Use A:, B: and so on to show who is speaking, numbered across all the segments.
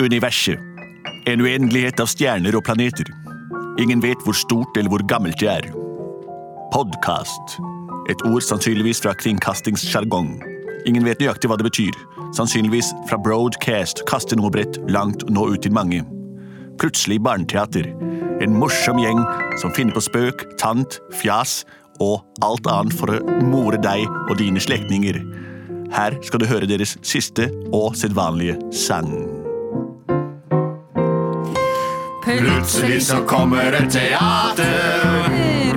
A: Universet. En uendelighet av stjerner og planeter. Ingen vet hvor stort eller hvor gammelt det er. Podkast. Et ord sannsynligvis fra kringkastingssjargong. Ingen vet nøyaktig hva det betyr. Sannsynligvis fra broadcast, kaste noe bredt, langt og nå ut til mange. Plutselig barneteater. En morsom gjeng som finner på spøk, tant, fjas og alt annet for å more deg og dine slektninger. Her skal du høre deres siste og sedvanlige sang.
B: Plutselig så kommer et teater.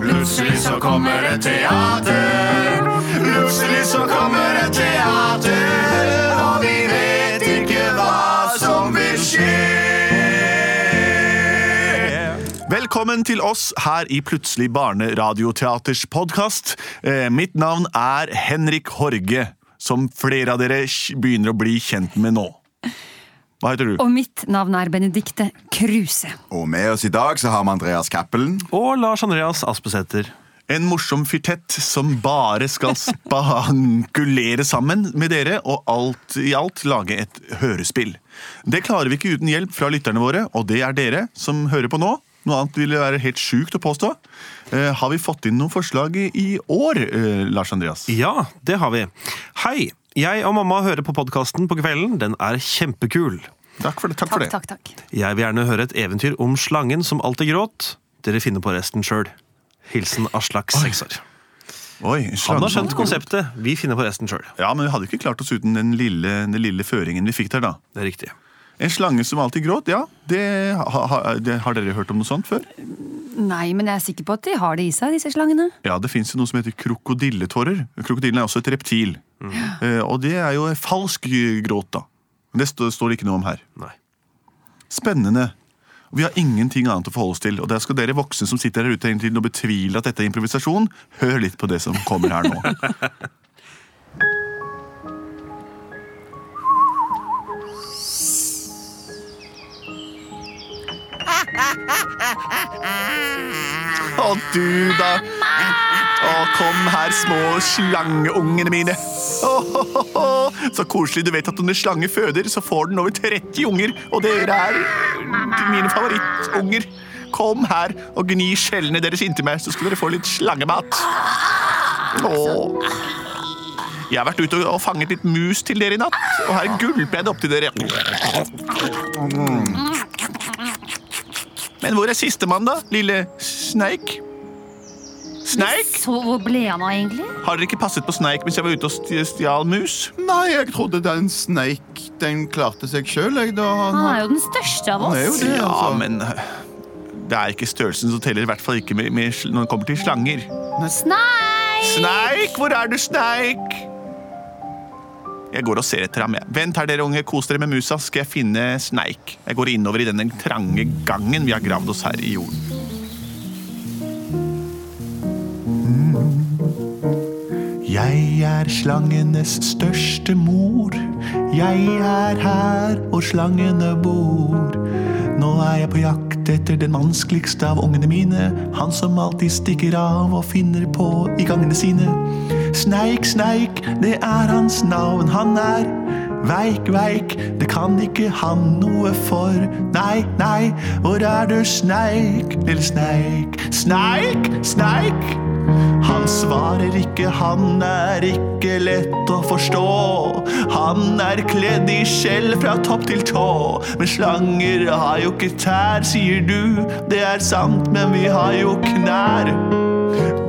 B: Plutselig så kommer et teater. Plutselig så kommer et teater, og vi vet ikke hva som vil skje.
A: Velkommen til oss her i Plutselig barneradioteaters podkast. Eh, mitt navn er Henrik Horge, som flere av dere kj- begynner å bli kjent med nå. Hva heter du?
C: Og mitt navn er Benedikte Kruse.
B: Og med oss i dag så har vi Andreas Cappelen.
D: Og Lars Andreas Aspesæter.
A: En morsom fyrtett som bare skal spankulere sammen med dere og alt i alt lage et hørespill. Det klarer vi ikke uten hjelp fra lytterne våre, og det er dere som hører på nå. Noe annet ville være helt sjukt å påstå. Eh, har vi fått inn noen forslag i, i år, eh, Lars Andreas?
D: Ja, det har vi. Hei! Jeg og mamma hører på podkasten på kvelden. Den er kjempekul.
A: Takk for det. Takk, for
C: Takk,
A: det.
C: takk, takk.
D: Jeg vil gjerne høre et eventyr om slangen som alltid gråt. Dere finner på resten sjøl. Hilsen Aslak, seks år.
A: Oi,
D: Han har
A: slangen.
D: skjønt konseptet. Vi finner på resten sjøl.
A: Ja, men Vi hadde ikke klart oss uten den lille, den lille føringen vi fikk der. da.
D: Det er riktig.
A: En slange som alltid gråt, ja. Det, ha, ha, det, har dere hørt om noe sånt før?
C: Nei, men jeg er sikker på at de har det i seg, disse slangene.
A: Ja, Det fins noe som heter krokodilletårer. Krokodillen er også et reptil. Eh, og det er jo falsk gråt, da. Men Det stå, står det ikke noe om her.
D: Nei.
A: Spennende. Vi har ingenting annet å forholde oss til. Og der skal dere voksne som sitter her ute hele tiden og betviler at dette er improvisasjon, hør litt på det som kommer her nå. Å, du da. Å, kom her, små slangeungene mine. Å, ho, ho, ho. Så koselig. Du vet at når en slange føder, så får den over 30 unger. Og dere er mine favorittunger. Kom her og gni skjellene deres inntil meg, så skal dere få litt slangemat. Å. Jeg har vært ute og- og fanget litt mus til dere i natt, og her gulper jeg det opp til dere. Men hvor er sistemann, da, lille sneik? Sneik?
C: Så hvor ble han av, egentlig?
A: Har dere ikke passet på sneik mens jeg var ute og st- stjal mus?
B: Nei, jeg trodde den sneik den klarte seg sjøl.
C: Han er jo den største av
B: Han er jo
C: oss.
B: det.
A: Ja,
B: altså.
A: men øh, det er ikke størrelsen som teller, i hvert fall ikke med, med, sl- når det kommer til slanger.
C: Snei!
A: Sneik, hvor er du, sneik? Jeg går og ser etter ham. jeg. Vent her, dere unge. Kos dere med musa, skal jeg finne sneik. Jeg går innover i denne trange gangen vi har gravd oss her i jorden. Jeg er slangenes største mor. Jeg er her, og slangene bor. Nå er jeg på jakt etter den vanskeligste av ungene mine. Han som alltid stikker av og finner på i gangene sine. Sneik, sneik, det er hans navn. Han er veik, veik. Det kan ikke han noe for. Nei, nei, hvor er du, sneik, lille sneik? Sneik, sneik. Han svarer ikke, han er ikke lett å forstå. Han er kledd i skjell fra topp til tå. Men slanger har jo ikke tær, sier du. Det er sant, men vi har jo knær.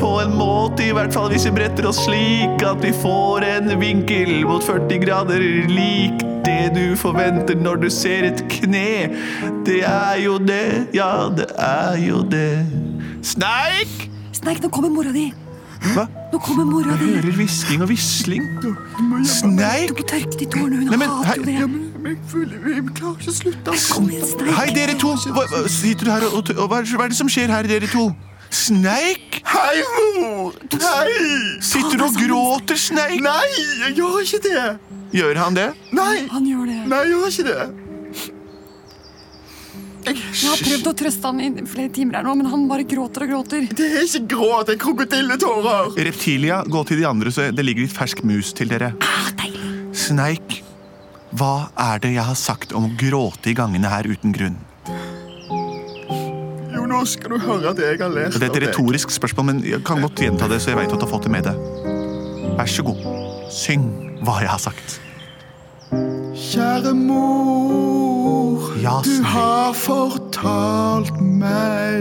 A: På en måte, i hvert fall hvis vi bretter oss slik at vi får en vinkel mot 40 grader lik det du forventer når du ser et kne. Det er jo det, ja, det er jo det. Sneik!
C: Sneik, nå kommer mora di!
A: Hva?
C: Nå kommer mora di!
A: Hører hvisking og visling. Sneik!
C: Du tørket de tårene, hun
A: Nei, men,
C: hater
A: hei-
C: jo det.
B: Jeg føler jeg klarer ikke å slutte.
C: Kom igjen, Sneik.
A: Hei, dere to! Hva, hva- sitter du her og, og hva, er- hva er det som skjer her, dere to? Sneik!
B: Hei, mor! Hei!
A: Sitter du og gråter, Sneik?
B: Nei, jeg gjør ikke det.
A: Gjør han det?
B: Nei,
C: Han gjør det.
B: nei, jeg gjør ikke det.
C: Jeg har prøvd å trøste han i flere timer her nå, men han bare gråter og gråter.
B: Det er ikke gråt, det er krokodilletårer.
A: Reptilia, gå til de andre, så det ligger litt fersk mus til dere.
C: Ah, deilig.
A: Sneik, Hva er det jeg har sagt om å gråte i gangene her uten grunn?
B: Jo, nå skal du høre at jeg har lest
A: Det er et retorisk spørsmål, men jeg kan godt gjenta det, så jeg vet at du har fått det med deg. Vær så god. Syng hva jeg har sagt.
B: Kjære mor,
A: Ja,
B: du
A: Snorri.
B: har fortalt meg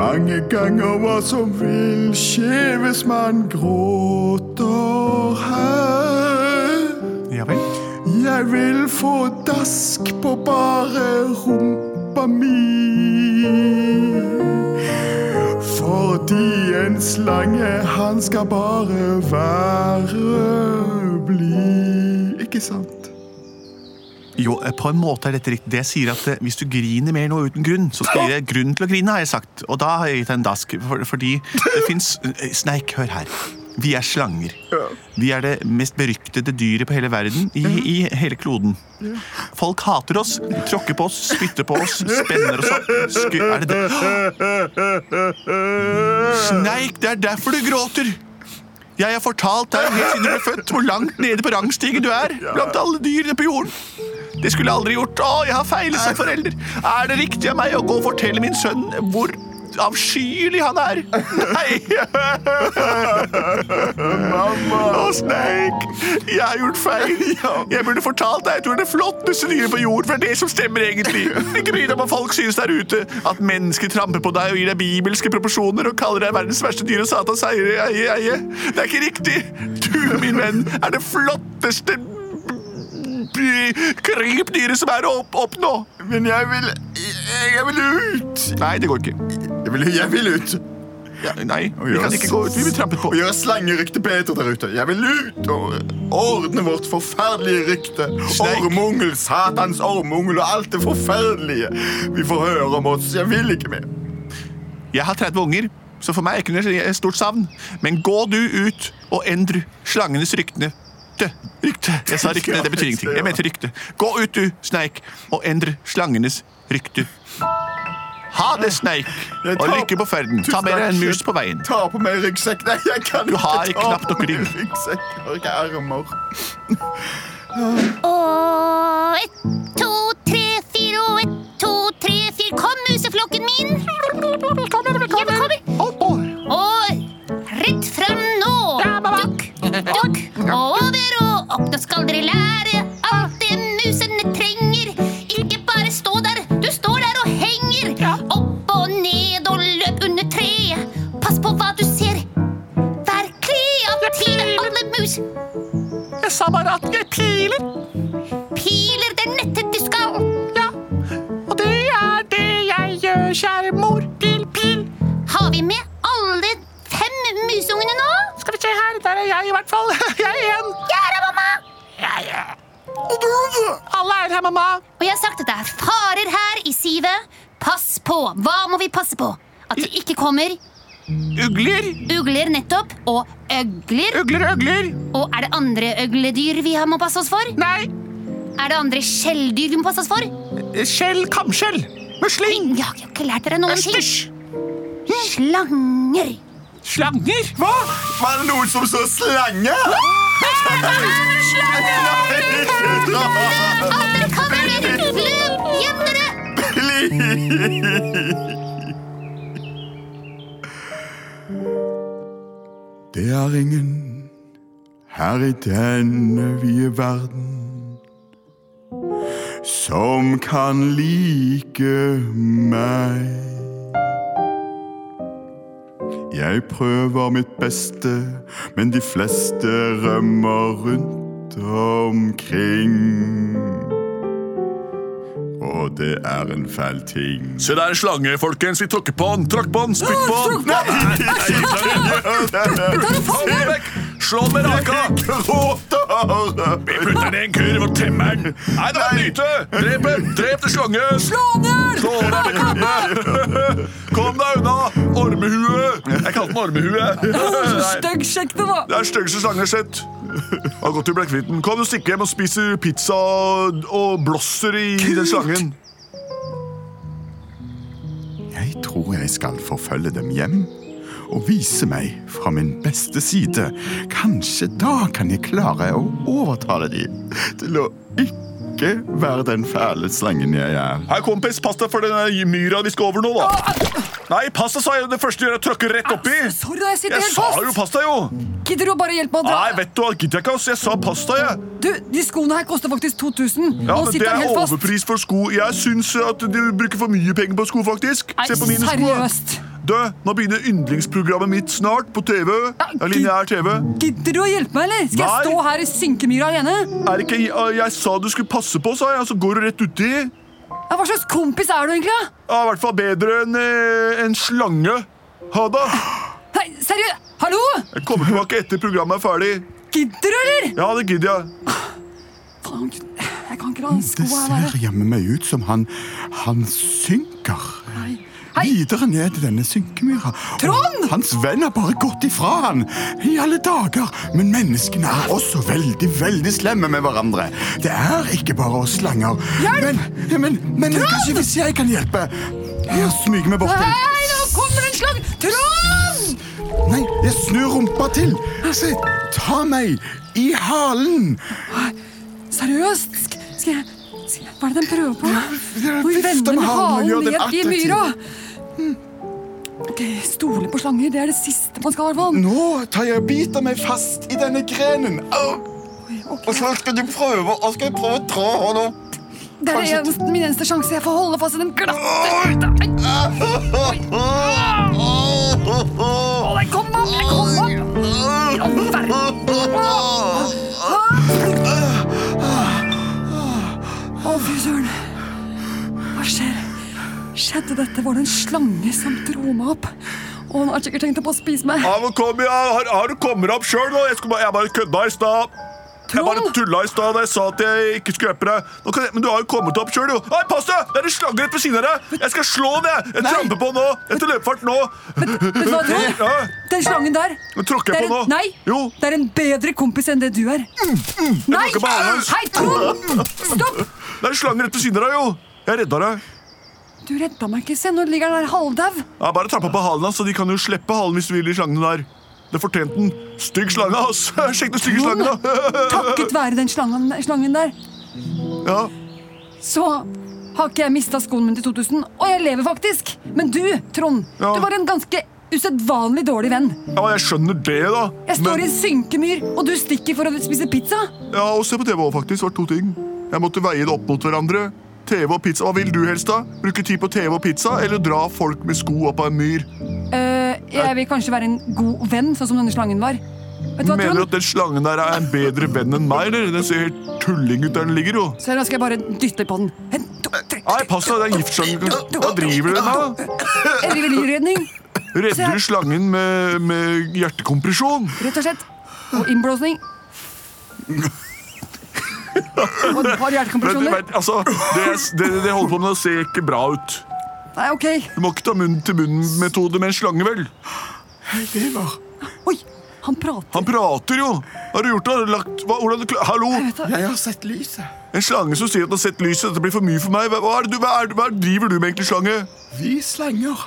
B: mange ganger hva som vil skje hvis man gråter her.
A: Ja vel?
B: Jeg vil få dask på bare rumpa mi. Fordi en slange, han skal bare være blid. Ikke sant?
A: Jo, eh, på en måte er dette riktig. Det jeg sier at eh, Hvis du griner mer nå uten grunn, så skal det grunn til å grine, har jeg sagt. Og da har jeg gitt deg en dask. For, fordi det fins Sneik, hør her. Vi er slanger. Vi er det mest beryktede dyret på hele verden. I, i hele kloden. Folk hater oss, tråkker på oss, spytter på oss, spenner oss opp. Sku, er det det? Sneik, det er derfor du gråter! Jeg har fortalt deg helt siden du ble født hvor langt nede på rangstigen du er. Blant alle dyrene på jorden. Det skulle jeg aldri gjort. Å, jeg har feilet som forelder. Er det riktig av meg å gå og fortelle min sønn hvor avskyelig han er? Nei! Mamma! Å, Sneik! Jeg har gjort feil. Jeg burde fortalt deg at du er det flotteste dyret på jord, for det er det som stemmer egentlig. Ikke bry deg om hva folk synes der ute. At mennesker tramper på deg og gir deg bibelske proporsjoner og kaller deg verdens verste dyr og Satans eier, eie, eie. Det er ikke riktig. Du, min venn, er det flotteste krypdyret som er å opp oppnå.
B: Men jeg vil Jeg vil ut!
A: Nei, det går ikke.
B: Jeg vil, jeg vil ut!
A: Nei, vi kan ikke gå ut. Vi blir trampet på.
B: Og gjøre slangerykte Peter der ute. Jeg vil ut og ordne vårt forferdelige rykte.
A: Sneik.
B: Ormungel, satans ormungel og alt det forferdelige vi får høre om oss. Jeg vil ikke mer.
A: Jeg har 30 unger, så for meg er ikke det et stort savn. Men gå du ut og endr slangenes ryktene. Dø, rykte. Jeg sa ryktene, det betyr ingenting. Jeg mente rykte. Gå ut du, sneik, og endr slangenes rykte. Ha det, sneik,
B: Jeg
A: og
B: tar-
A: lykke på ferden. Ta
B: Tusen
A: med deg en
B: takk.
A: mus på veien.
B: Ta på meg ryggsekk. Nei, jeg kan
A: Du har
B: ikke ta
A: knapt nok
B: på meg
A: rygg.
B: ryggsekk. Jeg har ikke armer.
E: Og ett, to, tre, fire og ett, to, tre, fire. Kom, museflokken min! Velkommen, velkommen. Og rett fram nå! Dukk, dukk, og over og opp. Nå skal dere lære alt det musene trenger. Ikke bare stå der, du står der og henger. Opp og ned og løp under treet. Pass på hva du ser. Vær kreative, alle mus.
A: Jeg sa bare at jeg piler,
E: Piler det nettet du skal.
A: og det er det jeg gjør, kjære mor. Pil, pil.
E: Har vi med alle fem musungene nå?
A: Skal vi se her, der er jeg i hvert fall. Jeg er igjen.
E: Ja da, mamma!
A: Alle er her, mamma.
E: Og jeg har sagt at det er farer her i sivet. Pass på! Hva må vi passe på? At det ikke kommer
A: Ugler,
E: ugler nettopp, og øgler.
A: ugler, ugler.
E: Og er det andre øgledyr vi har må passe oss for?
A: Nei,
E: Er det andre skjelldyr vi må passe oss for?
A: Skjell, kamskjell, musling,
E: Jeg har ikke lært dere noen ting.
A: østers,
E: Slanger.
A: slanger Hva?
B: Var det noen som så slange? Slange!
E: Alt dere kan dere! Løp! Gjem dere!
B: Det er ingen her i denne vide verden som kan like meg. Jeg prøver mitt beste, men de fleste rømmer rundt omkring. Og det er en fæl ting.
D: Se, det er en slange, folkens. Vi tråkker på den. Tråkk på den, spytt på den.
B: Nei, nei,
D: Få den vekk! Slå den med raka! Vi putter den i en kurv og temmer den. Nei, det var en nyte! Drep den! Drep den slange! Slå den! Slå den med kappe! Kom deg unna! Ormehue! Jeg kalte den ormehue. Nei,
C: Stygg sjekk det, da!
D: Det er den styggeste slangen jeg har sett. Har gått i blekkfritten. Kom, du stikker hjem og spiser pizza og- og blåser i den slangen.
B: Jeg tror jeg skal forfølge dem hjem og vise meg fra min beste side. Kanskje da kan jeg klare å overtale de til å ikke være den fæle slangen jeg er.
A: Hei, kompis, pass deg for
D: eh,
A: den myra vi skal over nå, da. Nei, pass deg, sa jeg. Det første jeg gjør, er å tråkke rett oppi.
D: Altså,
C: Sorry, da, jeg sitter
A: Jeg
C: helt
A: sa
C: fast.
A: jo pass deg, jo.
C: Gidder du å bare hjelpe meg å dra?
A: Nei, vet du hva, gidder jeg ikke, ass. Jeg sa pass deg, jeg.
C: Du, De skoene her koster faktisk 2000.
A: Ja, men
C: Nå
A: Det
C: sitter han
A: er
C: helt fast.
A: overpris for sko. Jeg syns at du bruker for mye penger på sko, faktisk.
C: Nei,
A: Se på mine sko. da.
C: seriøst.
A: Du, nå begynner yndlingsprogrammet mitt snart på TV. Det er lineær TV.
C: Gidder du å hjelpe meg, eller?
A: Nei.
C: Skal jeg stå her i synkemyra alene?
A: Er det ikke jeg, jeg sa du skulle passe på, sa jeg, og så går du rett uti.
C: Ja, hva slags kompis er du egentlig? da?
A: Ja, I hvert fall bedre enn eh, en slange. Ha det.
C: Nei, seriøst? Hallo?
A: Jeg kommer tilbake etter programmet er ferdig.
C: Gidder du, eller?
A: Ja, det gidder jeg.
C: Faen, jeg kan ikke la den
B: Det
C: skoa her
B: ser
C: være.
B: jammen meg ut som han han synker.
C: Hei.
B: Videre ned i denne synkemyra. Og
C: Trond!
B: Hans venn har bare gått ifra han. I alle dager. Men menneskene er også veldig, veldig slemme med hverandre. Det er ikke bare oss slanger.
C: Hjelp!
B: Men, ja, men, men kanskje hvis jeg kan hjelpe. Jeg smyger meg bort til
C: Hei, nå kommer en slang! Trond!
B: Nei, jeg snur rumpa til. Se, ta meg i halen.
C: Seriøst? Sk- Skal jeg, skal jeg Hva er det den prøver på?
B: det-
C: Hvor
B: vifte
C: vender
B: med halen og gjør den
C: halen ned i
B: attraktiv.
C: myra? Mm. Ok, Stole på slanger, det er det siste man skal, i hvert fall.
B: Nå tar jeg og biter meg fast i denne grenen. Au! Og så skal du prøve og skal jeg prøve å dra hånda opp.
C: Det er det
B: Kanskje-
C: eneste, min eneste sjanse jeg får holde fast i den glatte Å, jeg kom opp! Jeg kom opp! I all verden! Å, fy søren. Hva skjer? Skjedde dette? Var det en slange som dro meg opp? Å, han har sikkert tenkt på å spise meg.
A: Ja, men kom, jeg, har, har du kommet opp sjøl, nå? Jeg, skulle bare- jeg bare kødda i stad. Jeg bare
C: Trond!
A: tulla i stad da jeg sa at jeg ikke skulle hjelpe deg. Nå kan jeg, men du har jo kommet opp sjøl, jo. Nei, pass deg! Det er en slange rett ved siden av deg. Jeg skal slå den, jeg. Jeg tramper på nå. Etter løpefart nå.
C: Vet du hva, Trond?
A: Ja,
C: Den slangen der
A: nå tråkker
C: det
A: jeg
C: er
A: på nå.
C: en, Nei!
A: Jo.
C: Det er en bedre kompis enn det du er. Nei!
A: ikke bare ha den.
C: Hei, Trond! Stopp!
A: Det er en slange rett ved siden av deg, jo. Jeg redda deg.
C: Du redda meg ikke. Se, nå ligger han der halvdau.
A: Jeg bare trampa på halen hans, så de kan jo slippe halen hvis du vil, de slangene der. Det fortjente den. Stygg slange, ass. Sjekk den stygge slangen, da.
C: Takket være den slangen, slangen der,
A: Ja.
C: så har ikke jeg mista skoen min til 2000, og jeg lever faktisk. Men du, Trond,
A: Ja.
C: du var en ganske usedvanlig dårlig venn.
A: ja, men jeg skjønner det, da.
C: Jeg står
A: Men-
C: i en synkemyr, og du stikker for å spise pizza.
A: Ja, og se på TV også, faktisk. Det var to ting. Jeg måtte veie det opp mot hverandre. TV og pizza. Hva vil du helst, da? Bruke tid på TV og pizza, eller dra folk med sko opp av en myr?
C: Eh, jeg vil kanskje være en god venn, sånn som denne slangen var. Vet du hva,
A: Mener du
C: Trond?
A: at den slangen der er en bedre venn enn meg, eller? Den ser helt tulling ut der den ligger, jo.
C: Så nå skal jeg bare dytte på den. En, to, tre.
A: Nei, pass deg, det er en giftslange. Hva driver du med? da?
C: Jeg driver livredning,
A: Redder du slangen med, med hjertekompresjon?
C: Altså, rett og slett. Og innblåsning. Og et par
A: Men,
C: hjertekompresjoner.
A: men, altså, det, det, det holder på med å se ikke bra ut.
C: Nei, ok.
A: Du må ikke ta munn-til-munn-metode med en slange, vel?
B: Lever.
C: Oi, han prater.
A: Han prater jo! Har du gjort det? Har du lagt, hva, hvordan, du kla- hallo?
B: Jeg har sett lyset.
A: En slange som sier at den har sett lyset. Dette blir for mye for meg. Hva, hva, er det, du- hva, er, det- hva driver du med, egentlig, slange?
B: Vi slanger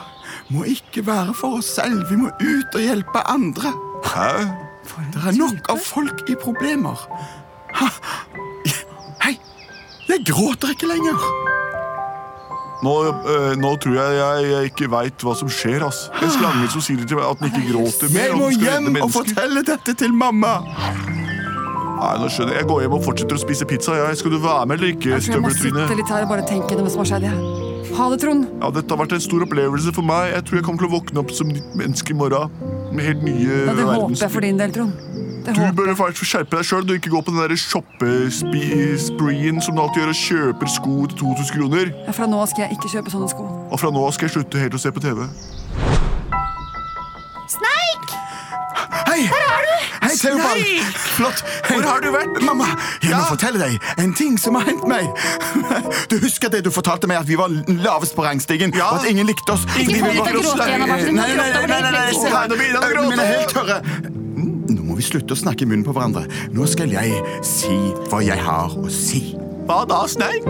B: må ikke være for oss selv. Vi må ut og hjelpe andre.
A: Hæ?
B: Det er nok av folk i problemer. Ha. Hei, jeg gråter ikke lenger.
A: Nå, eh, nå tror jeg jeg, jeg ikke veit hva som skjer. ass. En slange som sier til meg at den ikke gråter mer.
B: Jeg
A: og
B: må
A: den skal redde
B: hjem og
A: mennesker.
B: fortelle dette til mamma.
A: Nei, nå skjønner jeg. jeg går hjem og fortsetter å spise pizza. Jeg. Skal du være med eller ikke?
C: Jeg tror jeg må sitte
A: Støveltryne?
C: litt her og bare tenke gjennom hva som har skjedd. jeg. Ha det, Trond.
A: Ja, dette har vært en stor opplevelse for meg. Jeg tror jeg kommer til å våkne opp som nytt menneske i morgen. Med helt nye
C: Ja, det håper
A: verdens-
C: jeg for din del, Trond. Det
A: Du
C: håper.
A: bør faktisk skjerpe deg sjøl. Ikke gå på den der shoppespreen som du alltid gjør og kjøper sko til 2000 kroner.
C: jeg. Fra nå av skal jeg ikke kjøpe sånne sko.
A: Og fra nå av skal jeg slutte helt å se på TV.
F: Sneik!
B: Hei! Hvor er du? Hei, Theobald. Flott. Hei.
A: Hvor har du vært?
B: Mamma, jeg må fortelle deg en ting som har hendt meg. Du husker det du fortalte meg at vi var lavest på rangstigen,
A: Ja.
B: og at ingen likte oss. fordi
F: få
B: vi
F: deg
B: var
F: til å gråte
B: kristne.
F: igjen, Abba, for du
B: Nei,
F: har grått
B: nei, nei,
F: over
B: nei, nei,
F: hele
B: nei, se
A: Nå begynner han å
B: her.
A: gråte.
B: Øynene er helt tørre. Mm, Nå må vi slutte å snakke i munnen på hverandre. Nå skal jeg si hva jeg har å si.
A: Hva da, sneik?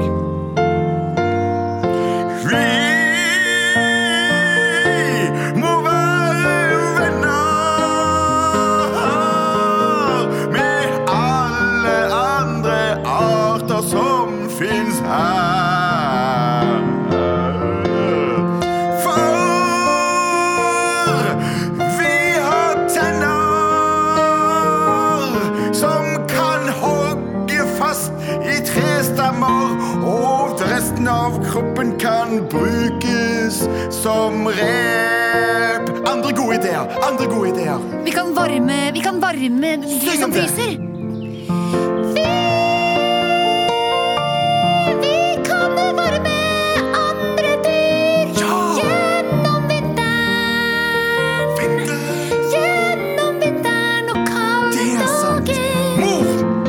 B: Vi må være av kroppen kan brukes som rep. Andre gode ideer. Andre gode ideer.
E: Vi kan varme Vi kan varme de som
B: om det.
E: fryser. Vi- vi kan varme andre dyr gjennom vinteren. Gjennom vinteren og kalde
B: Det er sant.
E: dager.
B: Mor!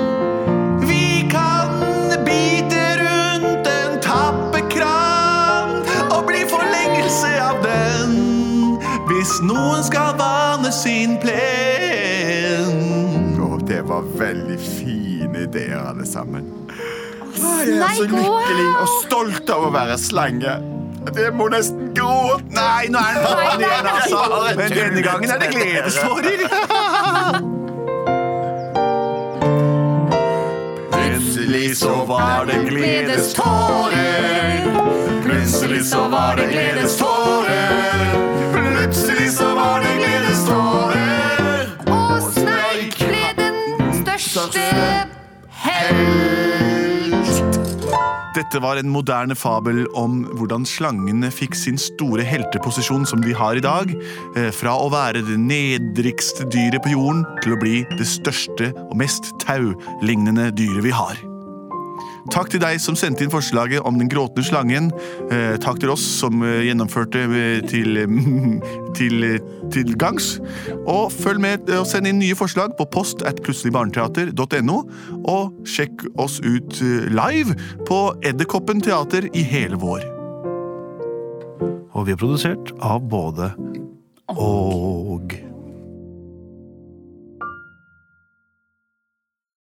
A: Vi kan bite rundt en tappekran og bli forlengelse av den hvis noen skal vane sin plen.
B: Å, det var veldig fine ideer, alle sammen. Jeg er så
E: Sneik,
B: lykkelig
E: wow.
B: og stolt av å være slange. Det må nesten gråte. Nei, nå er den
E: Nei, nei, nei.
B: altså.
A: Men denne gangen er det gledestårer.
B: Plutselig så var det gledestårer. Plutselig så var det gledestårer. Plutselig så var det gledestårer.
E: Og sneik ble den største helt.
A: Dette var en moderne fabel om hvordan slangene fikk sin store helteposisjon som de har i dag, eh, fra å være det nedrigste dyret på jorden til å bli det største og mest taulignende dyret vi har. Takk til deg som sendte inn forslaget om den gråtende slangen. Eh, Takk til oss som eh, gjennomførte eh, til, til, eh, til gangs. Og følg med eh, og send inn nye forslag på post at plutseligbarneteater.no. Og sjekk oss ut eh, live på Edderkoppen teater i hele vår.
G: Og vi er produsert av både og.